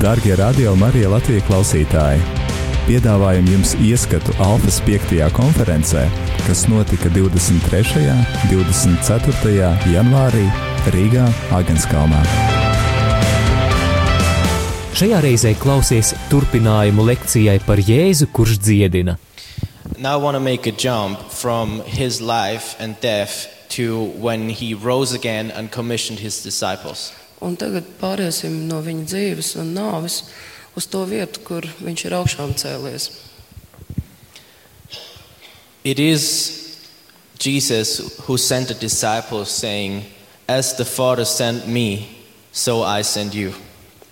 Darbie radio Marija Latvijas klausītāji! Piedāvājam jums ieskatu Alfas 5. konferencē, kas notika 23. un 24. janvārī Rīgā, Agenskalnā. Šajā reizē klausies turpinājumu lekcijai par Jēzu, kurš dziedina. Now I want to make a jump from his life and death to when he rose again and commissioned his disciples. Un tagad pāriesim no viņa dzīves un nāves uz to vietu, kur viņš ir augšām cēlies. It is Jesus who sent the disciples saying, As the Father sent me, so I send you.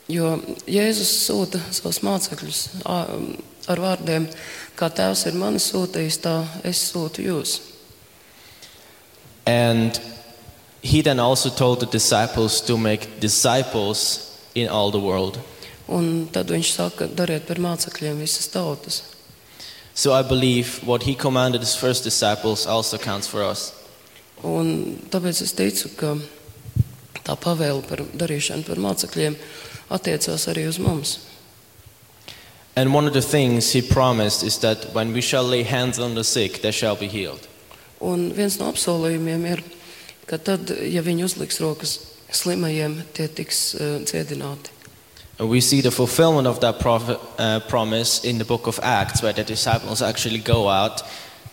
Jo Jēzus sūta savus mācekļus ā, ar vārdiem, kā Tēvs ir mani sūtījis, tā es sūtu jūs. And he then also told the disciples to make disciples in all the world. Un tad viņš saka, dariet par mācekļiem visas tautas. So I believe what he commanded his first disciples also counts for us. Un tāpēc es teicu, ka tā pavēle par darīšanu par mācekļiem attiecās arī uz mums. And one of the things he promised is that when we shall lay hands on the sick, they shall be healed. Un viens no apsolījumiem ir, ka tad, ja viņi uzliks rokas slimajiem, tie tiks eh, dziedināti. And we see the fulfillment of that prophet, uh, promise in the book of Acts, where the disciples actually go out.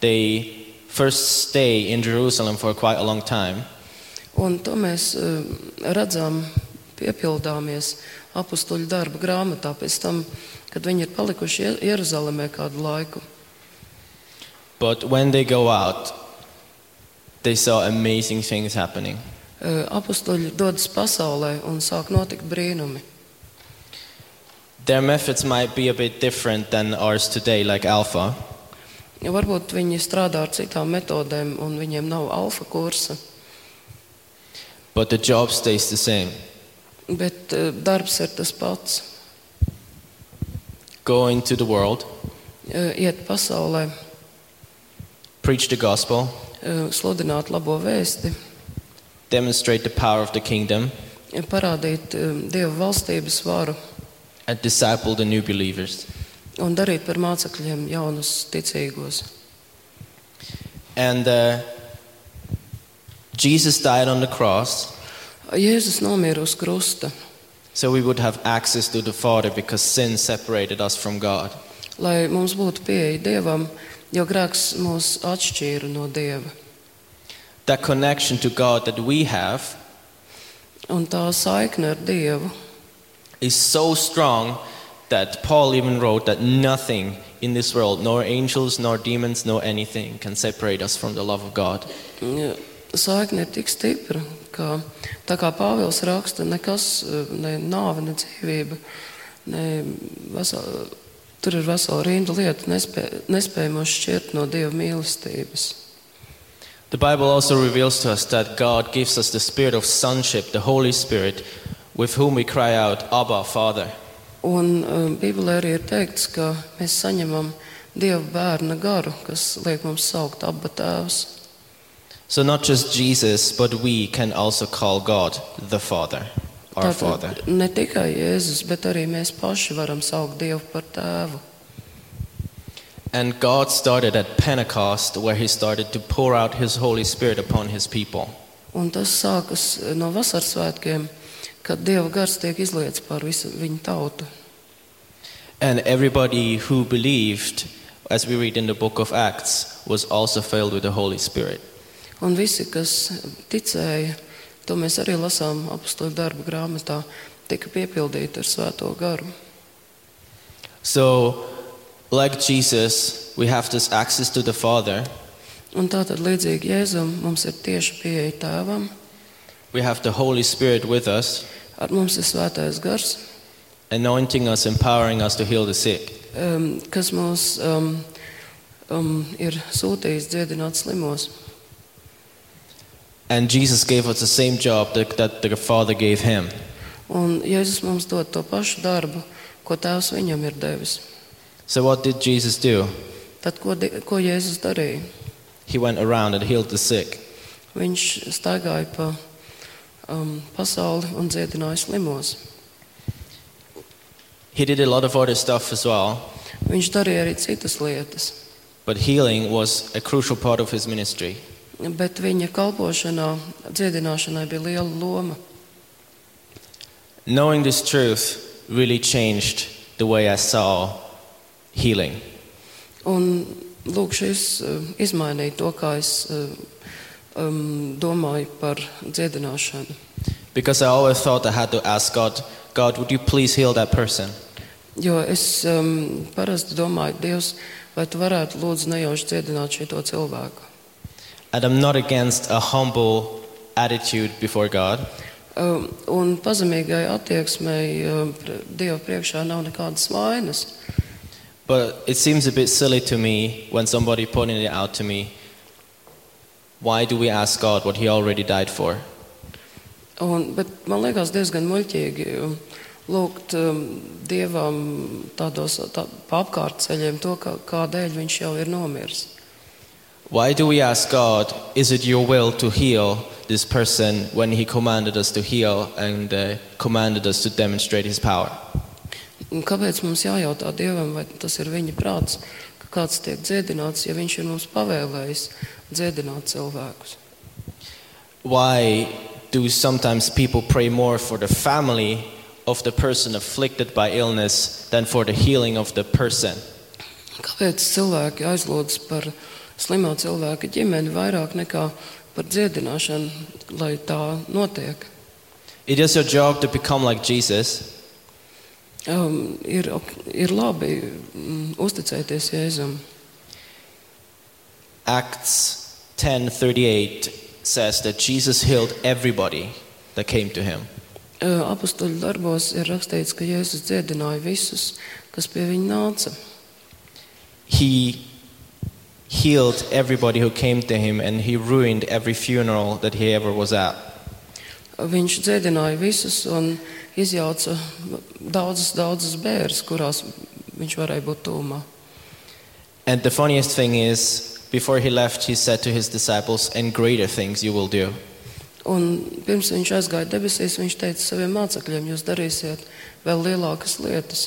They first stay in Jerusalem for quite a long time, Un to mēs eh, redzam, piepildāmies apakstuļu darba grāmatā pēc tam, kad viņi ir palikuši Ie- Jeruzalemē kādu laiku. but when they go out, they saw amazing things happening. Eh, Apakstuļi dodas pasaulē un sāk notikt brīnumi. Their methods might be a bit different than ours today, like Alpha, Ja varbūt viņi strādā ar citām metodēm un viņiem nav alfa kursa, but the job stays the same bet eh, darbs ir tas pats. go into the world, Eh, Iet pasaulē, preach the gospel, eh, sludināt labo vēsti, demonstrate the power of the kingdom, eh, parādīt eh, Dieva valstības varu and disciple the new believers. un darīt par mācekļiem jaunus ticīgos. And uh, Jesus died on the cross Jēzus nomira uz krusta, so we would have access to the Father because sin separated us from God. lai mums būtu pieeja Dievam, jo grēks mūs atšķīra no Dieva. That connection to God that we have Un tā saikne ar Dievu is so strong that Paul even wrote that nothing in this world, nor angels, nor demons, nor anything, can separate us from the love of God. Ja, mm, Saikne ir tik stipra, ka tā kā Pāvils raksta, nekas, eh, ne nāve, ne dzīvība, ne vesel, tur ir vesela rinda lietu, nespē, nespējamos šķirt no dieva mīlestības. The Bible also reveals to us that God gives us the spirit of sonship, the Holy Spirit, with whom we cry out, Abba, Father. Un eh, Bībelē arī ir teikts, ka mēs saņemam dieva bērna garu, kas liek mums saukt abu tēvus. So not just Jesus, but we can also call God the Father, our Father. Tātad ne tikai Jēzus, bet arī mēs paši varam saukt Dievu par tēvu. And God started at Pentecost, where He started to pour out His Holy Spirit upon His people. Un tas sākas no vasaras svētkiem, kad Dieva gars tiek izlietis pār visu viņu tautu. And everybody who believed, as we read in the book of Acts, was also filled with the Holy Spirit. Un visi, kas ticēja, to mēs arī lasām apakstoļu darba grāmatā, tika piepildīti ar svēto garu. So, like Jesus, we have this access to the Father, Un tā tad līdzīgi Jēzum mums ir tieši pieeja tēvam, we have the Holy Spirit with us, ar mums ir svētais gars, anointing us, empowering us to heal the sick. um, kas mūs um, um, ir sūtījis dziedināt slimos. And Jesus gave us the same job that, that the Father gave Him. Un Jēzus mums dod to pašu darbu, ko tēvs viņam ir devis. So, what did Jesus do? Tad ko, di- ko Jēzus darīja? He went around and healed the sick. Viņš staigāja pa um, pasauli un dziedināja slimos. He did a lot of other stuff as well, Viņš darīja arī citas lietas, but healing was a crucial part of his ministry. bet viņa kalpošanā, dziedināšanai bija liela loma. Knowing this truth really changed the way I saw healing. Un, lūk, šis eh, izmainīja to, kā es eh, um, domāju par dziedināšanu. Because I always thought I had to ask God, God, would you please heal that person? Jo es um, parasti domāju, Dievs, vai tu varētu lūdzu nejauši dziedināt šo cilvēku? And I'm not against a humble attitude before God, Um, un pazemīgai attieksmei um, pre- Dieva priekšā nav nekādas vainas. but it seems a bit silly to me when somebody pointed it out to me. Why do we ask God what He already died for? Un, bet man liekas, diezgan muļķīgi um, lūgt um, dievam tādos tā, pa apkārtceļiem to, kā, kādēļ viņš jau ir nomiris. Why do we ask God, is it your will to heal this person when He commanded us to heal and uh, commanded us to demonstrate His power? Un kāpēc mums jājautā dievam, vai tas ir viņa prāts, ka kāds tiek dziedināts, ja viņš ir mums pavēlējis dziedināt cilvēkus? Why do sometimes people pray more for the family of the person afflicted by illness than for the healing of the person? Kāpēc cilvēki aizlūdz par slimā cilvēka ģimeni vairāk nekā par dziedināšanu, lai tā notiek? It is your job to become like Jesus, Um, ir, ok- ir labi mm, uzticēties Jēzum. Acts 10:38 says that Jesus healed everybody that came to him. Uh, Apostoļu darbos ir rakstīts, ka Jēzus dziedināja visus, kas pie viņa nāca. He healed everybody who came to him and he ruined every funeral that he ever was at. Viņš dziedināja visus un izjauca daudzas, daudzas bērres, kurās viņš varēja būt tūmā. And the funniest thing is before he left he said to his disciples and greater things you will do. Un pirms viņš aizgāja debesīs, viņš teica saviem mācekļiem, jūs darīsiet vēl lielākas lietas.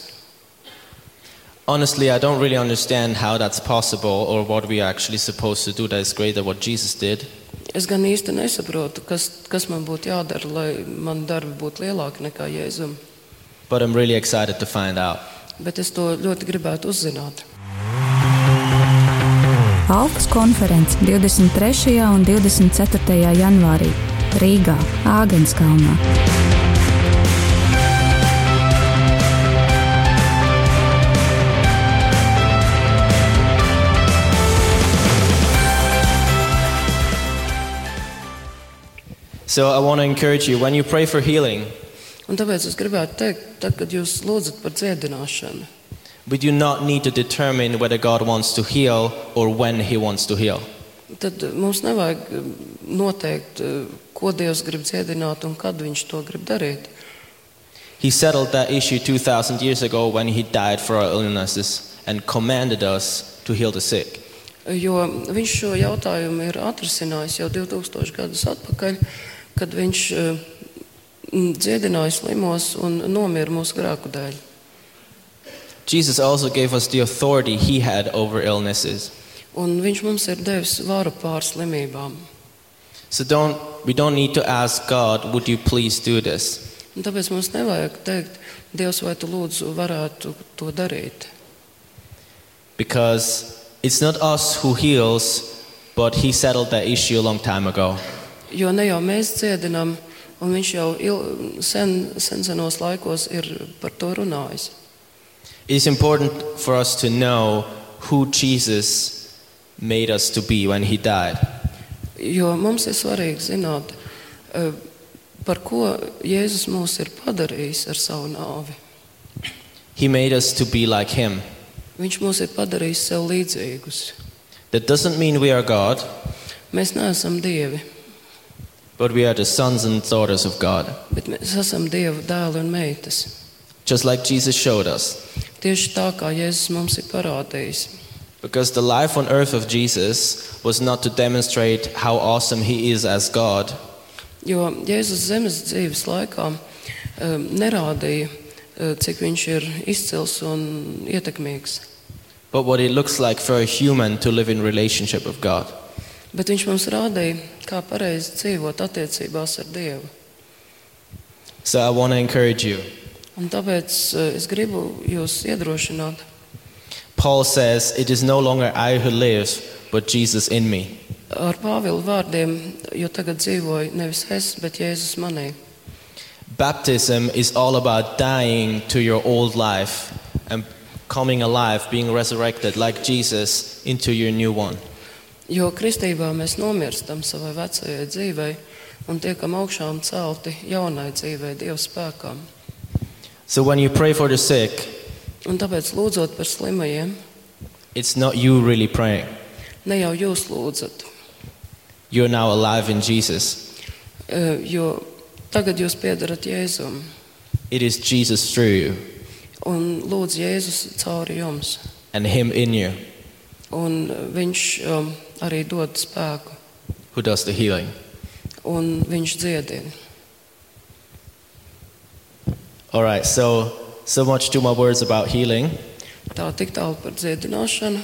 Honestly, I don't really understand how that's possible or what we are actually supposed to do that is greater than what Jesus did. Es gan īsti nesaprotu, kas, kas man būtu jādara, lai man darbi būtu lielāki nekā Jēzum, But I'm really excited to find out. bet es to ļoti gribētu uzzināt. Alfas konference 23. un 24. janvārī Rīgā, Āgenskalnā. So I want to encourage you when you pray for healing, Un tāpēc es gribētu teikt, tad, kad jūs lūdzat par dziedināšanu, we do not need to determine whether God wants to heal or when he wants to heal. tad mums nevajag um, noteikt, uh, ko Dievs grib dziedināt un kad Viņš to grib darīt. He settled that issue 2000 years ago when he died for our illnesses and commanded us to heal the sick. Jo Viņš šo jautājumu ir atrisinājis jau 2000 gadus atpakaļ, kad Viņš uh, m, dziedināja slimos un nomira mūsu grēku dēļ. Jesus also gave us the authority he had over illnesses. Un viņš mums ir devis varu pār slimībām. So don't we don't need to ask God, would you please do this? Un tāpēc mums nevajag teikt, Dievs, vai tu lūdzu varētu to darīt. Because it's not us who heals, but he settled that issue a long time ago. Jo ne jau mēs dziedinām, un viņš jau il, sen, sen senos laikos ir par to runājis. It's important for us to know who Jesus made us to be when he died. Jo mums ir svarīgi zināt, eh, par ko Jēzus mūs ir padarījis ar savu nāvi. He made us to be like him. Viņš mūs ir padarījis sev līdzīgus. That doesn't mean we are God, Mēs neesam dievi, but we are the sons and daughters of God, bet mēs esam dievu dēli un meitas. just like Jesus showed us. Tieši tā kā Jēzus mums ir parādījis. Because the life on earth of Jesus was not to demonstrate how awesome he is as God, Jo Jēzus zemes dzīves laikā um, e, nerādīja, eh, cik viņš ir izcils un ietekmīgs. but what it looks like for a human to live in relationship with God. Bet viņš mums rādīja, kā pareizi dzīvot attiecībās ar Dievu. So I want to encourage you. Un tāpēc eh, es gribu jūs iedrošināt. Paul says, It is no longer I who lives, but Jesus in me. Ar Pāvila vārdiem, jo tagad dzīvoju nevis es, bet Jēzus manī. Baptism is all about dying to your old life and coming alive, being resurrected like Jesus into your new one. Jo kristībā mēs nomirstam savai vecajai dzīvei un tiekam augšām celti jaunai dzīvei, Dieva spēkam. So when you pray for the sick, Un tāpēc, lūdzot par slimajiem, it's not you really praying. ne jau jūs lūdzat, You're now alive in Jesus. eh, jo tagad jūs piedarat Jēzum It is Jesus through you un lūdz Jēzus cauri jums. and Him in you Un viņš em, arī dod spēku who does the healing. un viņš dziedina. All right, so so much to my words about healing. Tā tik tālu par dziedināšanu.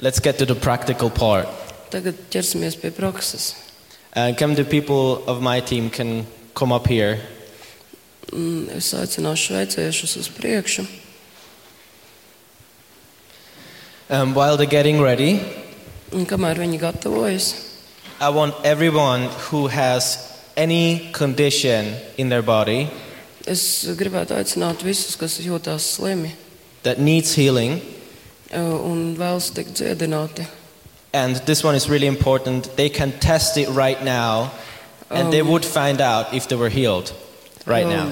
Let's get to the practical part. Tagad ķersimies pie prakses. Uh, come the people of my team can come up here. Mm, Es aicināšu šveiciešus uz priekšu. Um, while they're getting ready, Un kamēr viņi gatavojas, I want everyone who has any condition in their body es gribētu aicināt visus, kas jūtas slimi that needs healing, eh, un vēlas tikt dziedināti. and this one is really important, they can test it right now and they Um, would find out if they were healed right now.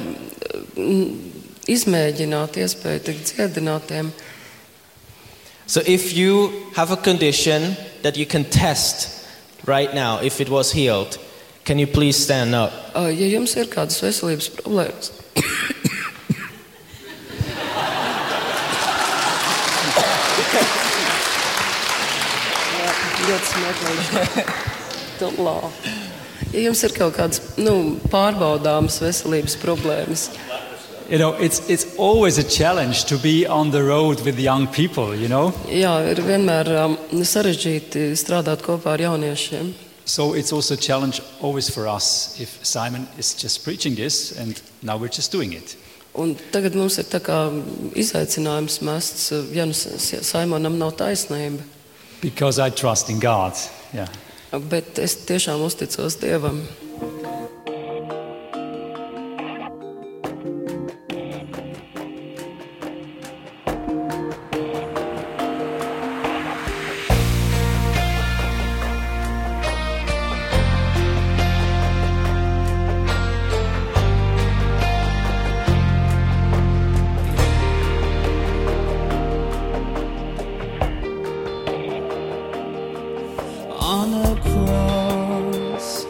Mm, Izmēģināt iespēju tikt dziedinātiem. So if you have a condition that you can test right now if it was healed, can you please stand up? Eh, Ja jums ir kādas veselības problēmas, ļoti smieklīgi. Tu lā. Ja jums ir kaut kādas nu, pārbaudāmas veselības problēmas, You know, it's, it's always a challenge to be on the road with young people, you know? jā, ir vienmēr um, sarežģīti strādāt kopā ar jauniešiem. So it's also a challenge always for us if Simon is just preaching this and now we're just doing it. Un tagad mums ir tā kā izaicinājums mests, ja nu S- S- Saimonam nav taisnība, Because I trust in God. Yeah. bet es tiešām uzticos Dievam. on a cross.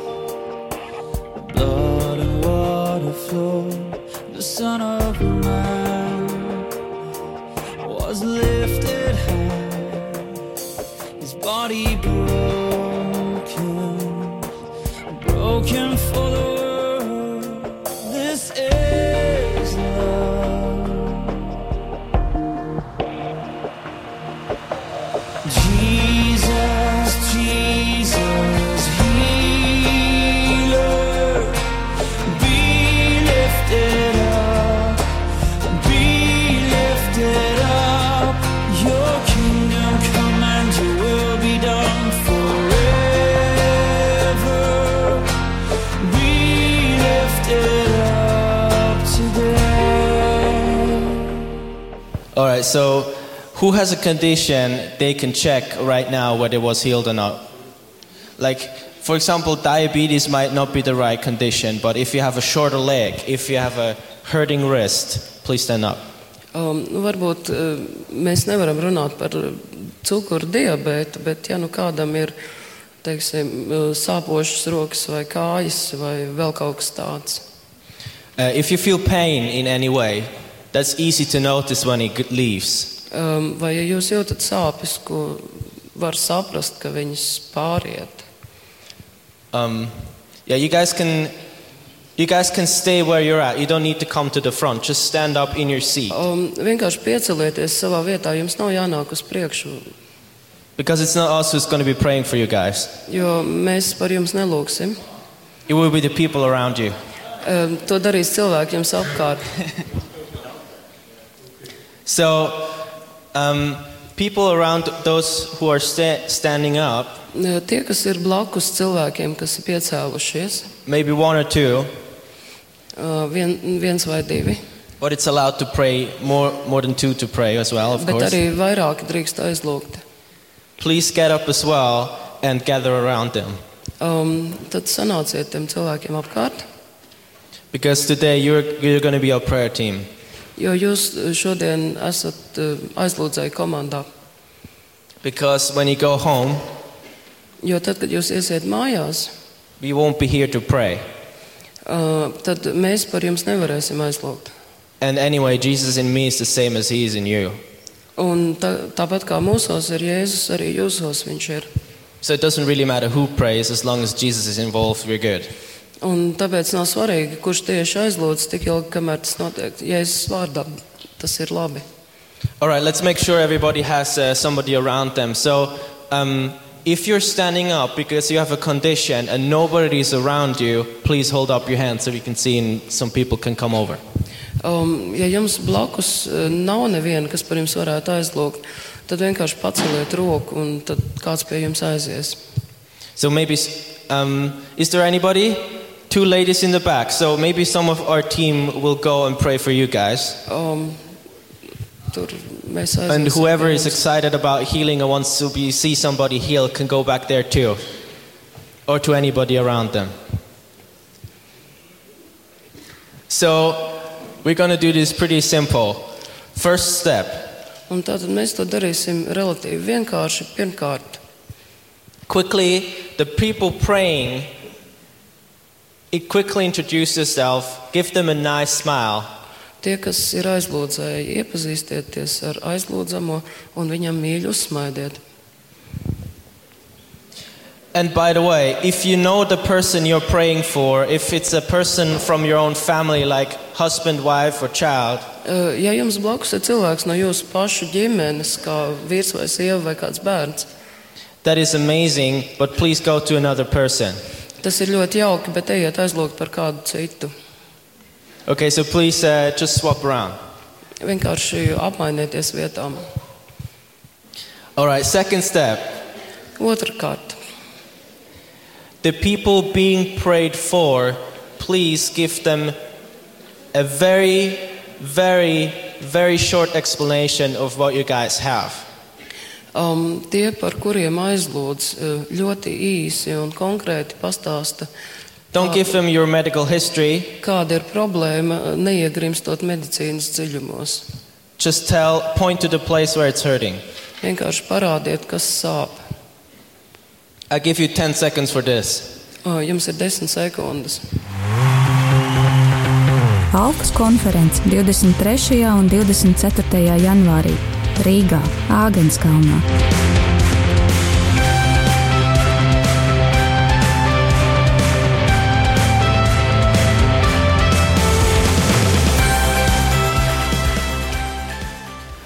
Blood and water flow. The Son of Man was lifted high. His body broken, broken for the world. This is love. Jesus, Jesus, healer, be lifted up, be lifted up. Your kingdom come and your will be done forever. Be lifted up today. All right, so who has a condition they can check right now whether it was healed or not? Like, for example, diabetes might not be the right condition, but if you have a shorter leg, if you have a hurting wrist, please stand up. Um, nu, varbūt uh, mēs nevaram runāt par uh, cukuru diabētu, bet ja nu kādam ir teiksim, uh, sāpošas rokas vai kājas vai vēl kaut kas tāds. Uh, if you feel pain in any way, that's easy to notice when it g- leaves. Um, vai ja jūs jūtat sāpes, ko var saprast, ka viņas pāriet? Um, yeah, you guys can You guys can stay where you're at. You don't need to come to the front. Just stand up in your seat Um, vienkārši piecelieties savā vietā, jums nav jānāk uz priekšu, because it's not us who's going to be praying for you guys. jo mēs par jums nelūksim. It will be the people around you. Um, to darīs cilvēki jums apkārt. So, um, people around those who are sta- standing up, Ne, Tie, kas ir blakus cilvēkiem, kas ir piecēlušies, maybe one or two, uh, vien, viens vai divi, but it's allowed to pray more, more than two to pray as well, of bet course. arī vairāki drīkst aizlūgt. Please get up as well and gather around them Um, tad sanāciet tiem cilvēkiem apkārt, because today you're, you're going to be our prayer team. jo jūs uh, šodien esat uh, aizlūdzēji komandā. Because when you go home, Jo tad, kad jūs iesiet mājās, we won't be here to pray. uh, tad mēs par jums nevarēsim aizlūgt. And anyway, Jesus in me is the same as He is in you. Un tā, tāpat kā mūsos ir Jēzus, arī jūsos viņš ir. So it doesn't really matter who prays, as long as Jesus is involved, we're good. Un tāpēc nav svarīgi, kurš tieši aizlūdz tik ilgi, kamēr tas notiek Jēzus vārdā. Tas ir labi. All right, let's make sure everybody has uh, somebody around them. So um, if you're standing up because you have a condition and nobody is around you, please hold up your hand so we can see and some people can come over. Um, ja jums blakus eh, nav neviena, kas par jums varētu aizlūgt, tad vienkārši paceliet roku un tad kāds pie jums aizies. So maybe, s- um, is there anybody? Two ladies in the back. So maybe some of our team will go and pray for you guys. Um, tur mēs aiziesim. And whoever is pie jums. excited about healing and wants to be, see somebody heal can go back there too. Or to anybody around them. So we're going to do this pretty simple. First step Un tātad mēs to darīsim relatīvi vienkārši. Pirmkārt, quickly, the people praying, it quickly introduce yourself, give them a nice smile. tie, kas ir aizlūdzēji, iepazīstieties ar aizlūdzamo un viņam mīļi uzsmaidiet. And by the way, if you know the person you're praying for, if it's a person from your own family, like husband, wife, or child, Eh, Ja jums blakus ir cilvēks no jūsu pašu ģimenes, kā vīrs vai sieva vai kāds bērns, that is amazing, but please go to another person. tas ir ļoti jauki, bet ejiet aizlūgt par kādu citu. Okay, so please uh, just swap around. Vienkārši apmainieties vietām. All right, second step Otrakārt, the people being prayed for, please give them a very, very, very short explanation of what you guys have. um, tie, par kuriem aizlūdz, eh, ļoti īsi un konkrēti pastāsta, Don't give them your medical history. kāda ir problēma, uh, neiegrimstot medicīnas dziļumos. Just tell, point to the place where it's hurting. Vienkārši parādiet, kas sāp. I give you 10 seconds for this. Eh, Jums ir desmit sekundes. Alkas konference 23. un 24. janvārī Rīgā, Āgenskalnā.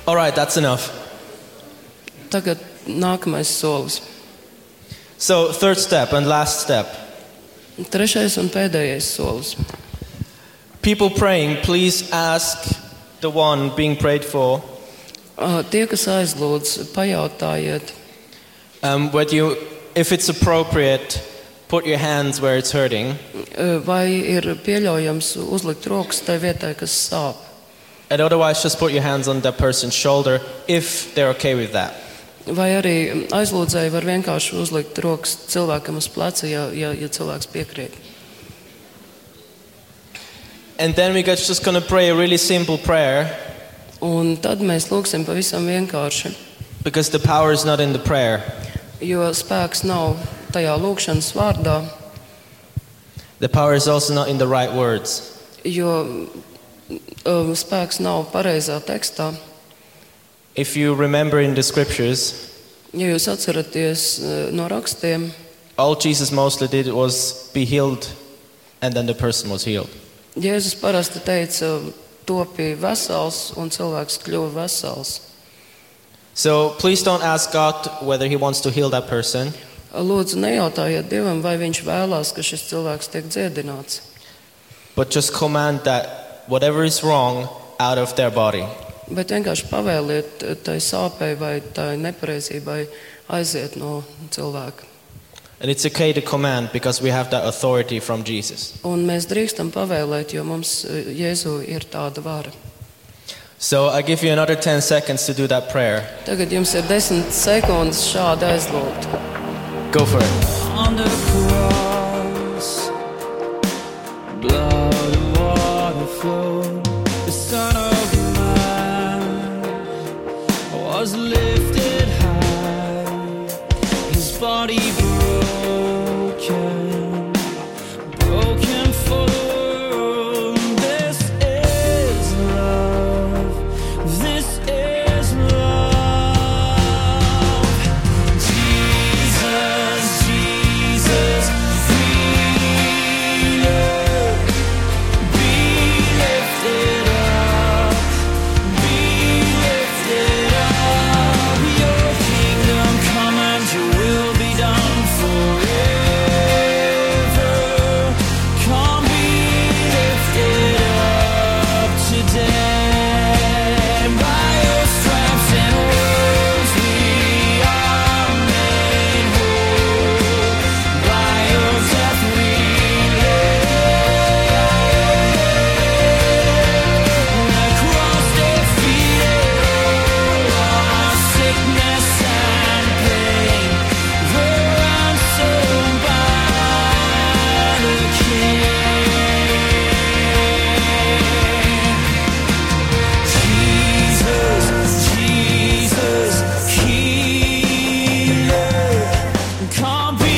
All right, that's enough. Tagad nākamais solis. So, third step and last step. Trešais un pēdējais solis. People praying, please ask the one being prayed for Uh, Tie, kas aizlūdz, pajautājiet, um, whether you, if it's appropriate, put your hands where it's hurting uh, vai ir pieļaujams uzlikt rokas tai vietai, kas sāp. and otherwise just put your hands on that person's shoulder if they're okay with that. Vai arī aizlūdzēji var vienkārši uzlikt rokas cilvēkam uz pleca, ja, ja, ja cilvēks piekrīt. And then we're just going to pray a really simple prayer Un tad mēs lūgsim pavisam vienkārši, because the power is not in the prayer. jo spēks nav tajā lūkšanas vārdā, The power is also not in the right words. jo um, spēks nav pareizā tekstā. If you remember in the scriptures, Ja jūs atceraties uh, no rakstiem, all Jesus mostly did was be healed and then the person was healed. Jēzus parasti teica, topīja vesels, un cilvēks kļuva vesels. So please don't ask God whether He wants to heal that person. Lūdzu, nejautājiet Dievam, vai viņš vēlās, ka šis cilvēks tiek dziedināts, But just command that whatever is wrong out of their body. bet vienkārši pavēliet eh, tai sāpei vai tai nepareizībai aiziet no cilvēka. And it's okay to command because we have that authority from Jesus. Un mēs drīkstam pavēlēt, jo mums eh, Jēzu ir tāda vara. So I give you another 10 seconds to do that prayer. Tagad jums ir desmit sekundes šādi aizlūgt. Go for it. on the cross. Blood and water flowed. The Son of Man was lifted high. His body broken, broken for all. This is love. This is love. Jesus, Jesus, we love, be lifted up, be lifted up. Your kingdom come and your will be done forever. Come be lifted up today. By your stripes and wounds we are made whole. By your death we live. The cross defeated all our sickness and pain. We're ransomed by the King. Jesus, Jesus, healer, come be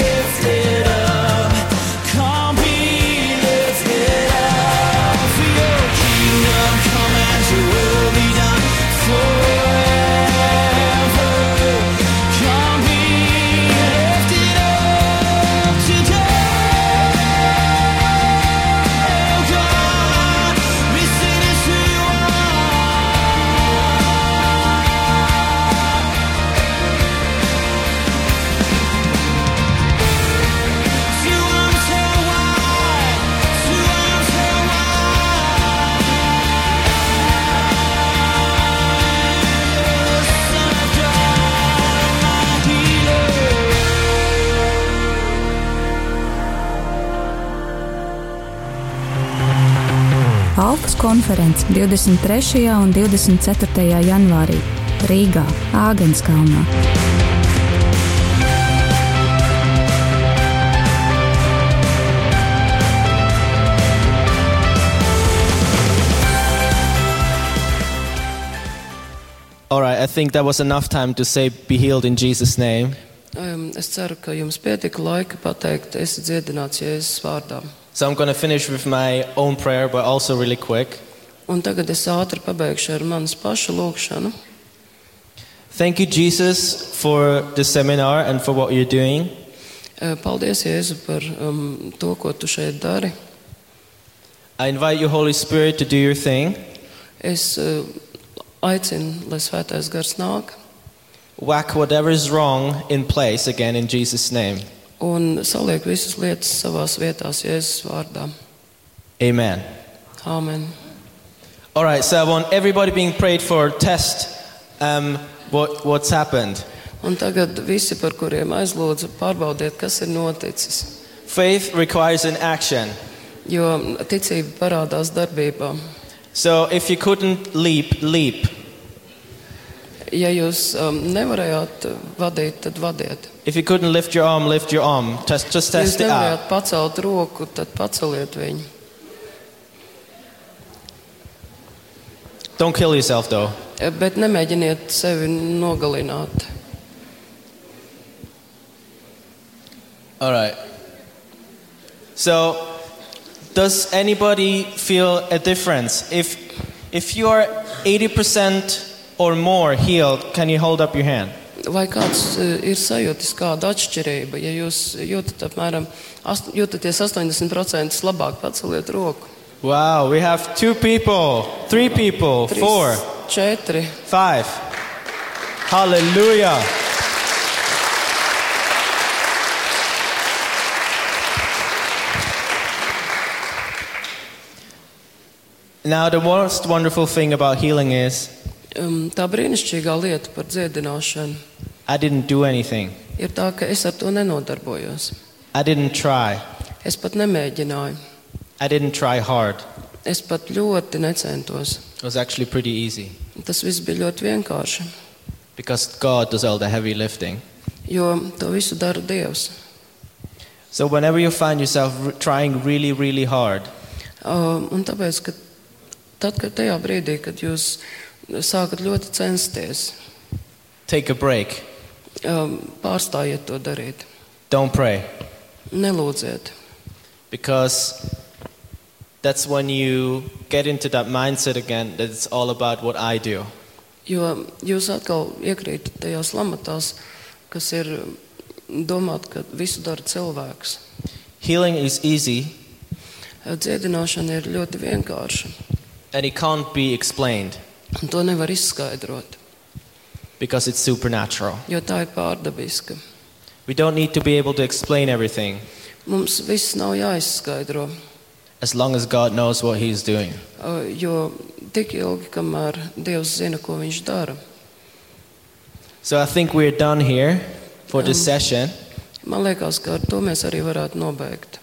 lifted up, come be lifted up. Your kingdom come and your will be done forever. Come be lifted up today. God, we sing it to you To arms held wide, to arms held wide. The Son of God, my healer. Alfas konference 23. un 24. janvārī Rīgā, Āgenskalnā. All right, I think that was enough time to say, Be healed in Jesus' name. Um, Es ceru, ka jums pietika laika pateikt, es esmu dziedināts Jēzus vārdā. So I'm going to finish with my own prayer, but also really quick. Un tagad es ātri pabeigšu ar manas paša lūgšanu. Thank you, Jesus, for the seminar and for what you're doing. Eh, Paldies, Jēzu, par um, to, ko tu šeit dari. I invite you, Holy Spirit, to do your thing. Es eh, aicinu, lai svētais gars nāk Whack whatever is wrong in place again in Jesus' name. un saliek visas lietas savās vietās Jēzus vārdā. Amen. Āmen. All right, so I want everybody being prayed for test um, what, what's happened. Un tagad visi, par kuriem aizlūdzu, pārbaudiet, kas ir noticis. Faith requires an action. Jo ticība parādās darbībā. So if you couldn't leap, leap. Ja jūs um, nevarējāt eh, vadīt, tad vadiet. If you couldn't lift your arm, lift your arm. Test, just Ja jūs test it out. nevarējāt pacelt roku, tad paceliet viņu. Don't kill yourself, though. Eh, Bet nemēģiniet sevi nogalināt. All right. So, does anybody feel a difference? If, if you are 80% or more healed, can you hold up your hand? vai kāds e, ir sajūtis kādu atšķirību? Ja jūs jūtat apmēram ast- jūtaties 80% labāk, paceliet roku. Wow, we have two people, three people, Trīs, four, Četri. five. Hallelujah. Now, the most wonderful thing about healing is Um, Tā brīnišķīgā lieta par dziedināšanu I didn't do anything, ir tā, ka es ar to nenodarbojos. I didn't try, Es pat nemēģināju. I didn't try hard. Es pat ļoti necentos. It was actually pretty easy Tas viss bija ļoti vienkārši, because God does all the heavy lifting. jo to visu dara Dievs. So, whenever you find yourself r- trying really, really hard, Um, Un tāpēc, ka tad, kad tajā brīdī, kad jūs sākat ļoti censties, take a break. um, pārstājiet to darīt. Don't pray Nelūdziet, because that's when you get into that mindset again that it's all about what I do. jo jūs atkal iekrītat tajās lamatās, kas ir domāt, ka visu dara cilvēks. Healing is easy Dziedināšana ir ļoti vienkārša, and it can't be explained un to nevar izskaidrot, because it's supernatural. jo tā ir pārdabiska. We don't need to be able to explain everything Mums viss nav jāizskaidro, as long as God knows what He's doing. uh, jo tik ilgi, kamēr Dievs zina, ko viņš dara. So, I think we're done here for this Um, session. Man liekas, ka ar to mēs arī varētu nobeigt.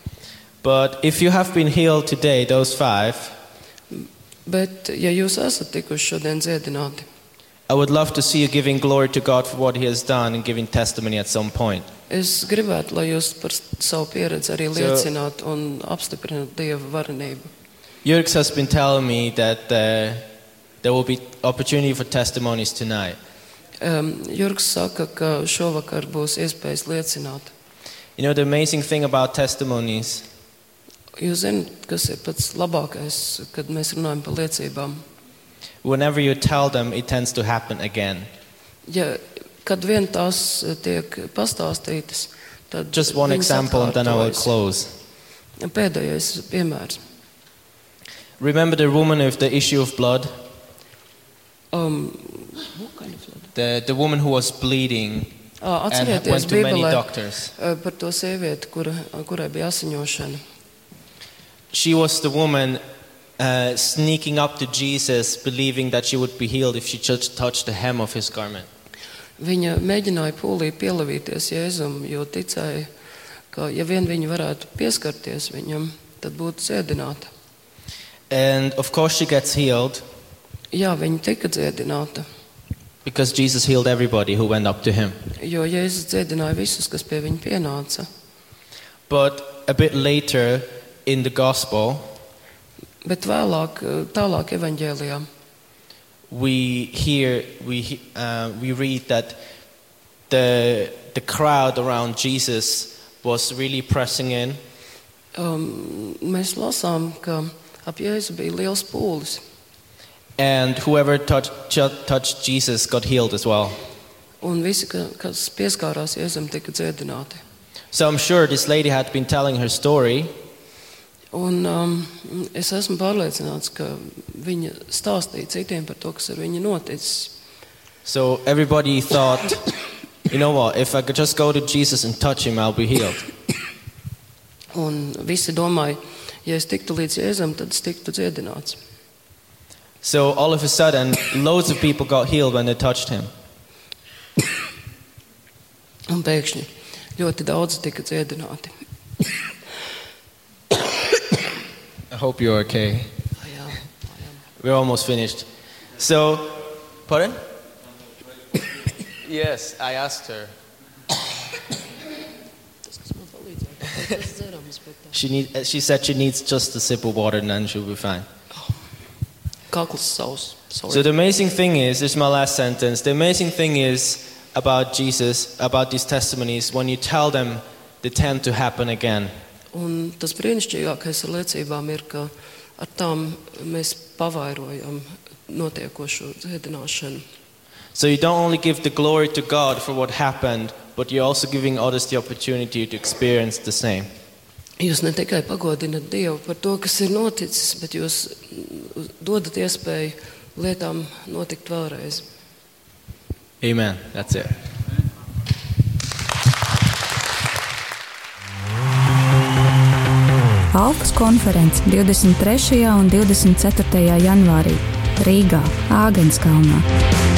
But if you have been healed today, those five, Bet, ja jūs esat tikuši šodien dziedināti, I would love to see you giving glory to God for what He has done and giving testimony at some point. es gribētu, lai jūs par s- savu pieredzi arī liecināt un apstiprināt Dieva varenību. Jurks has been telling me that uh, there will be opportunity for testimonies tonight. Um, Jurgs saka, ka šovakar būs iespējas liecināt. You know, the amazing thing about testimonies Jūs zināt, kas ir pats labākais, kad mēs runājam par liecībām. whenever you tell them, it tends to happen again. Ja, kad vien tās eh, tiek pastāstītas, tad Just one viņas example and then I will atkārtojas. close. Pēdējais piemērs. Remember the woman with the issue of blood? Um, The, the woman who was bleeding ā, and Atcerieties, went to many Bībelē doctors. eh, par to sievieti, kura, kurai bija asiņošana. She was the woman uh, sneaking up to Jesus, believing that she would be healed if she just touched the hem of his garment. Viņa mēģināja pūlī pielavīties Jēzum, jo ticēja, ka ja vien viņa varētu pieskarties viņam, tad būtu dziedināta. And of course, she gets healed Jā, viņa tika dziedināta, because Jesus healed everybody who went up to him. jo Jēzus dziedināja visus, kas pie viņa pienāca. But a bit later in the gospel, Bet vēlāk, eh, tālāk evaņģēlijā, we hear, we, he- uh, we read that the, the crowd around Jesus was really pressing in, um, mēs lasām, ka ap Jēzu bija liels pūlis, and whoever touched, ju- touched Jesus got healed as well. un visi, ka- kas pieskārās Jēzum, tika dziedināti. So I'm sure this lady had been telling her story, Un, um, es esmu pārliecināts, ka viņa stāstīja citiem par to, kas ar viņu noticis. so everybody thought, you know what, if I could just go to Jesus and touch him, I'll be healed. Un visi domāja, ja es tiktu līdz Jēzum, tad es tiktu dziedināts. So all of a sudden, loads of people got healed when they touched him. Un pēkšņi ļoti daudz tika dziedināti. I hope you're okay. Jā, We're almost finished. So, pardon? yes, I asked her. tas, kas man palīdzēja, tas dzerams. She, need, uh, she said she needs just a sip of water and then she'll be fine. Kakls savs. So, Sorry. the amazing thing is this is my last sentence. The amazing thing is about Jesus, about these testimonies, when you tell them, they tend to happen again. Un tas brīnišķīgākais ar liecībām ir, ka ar tām mēs pavairojam notiekošo dziedināšanu. So you don't only give the glory to God for what happened, but you're also giving others the opportunity to experience the same. Jūs ne tikai pagodinat Dievu par to, kas ir noticis, bet jūs mm, dodat iespēju lietām notikt vēlreiz. Amen. That's it. Alpas konference 23. un 24. janvārī Rīgā, Āgenskalnā.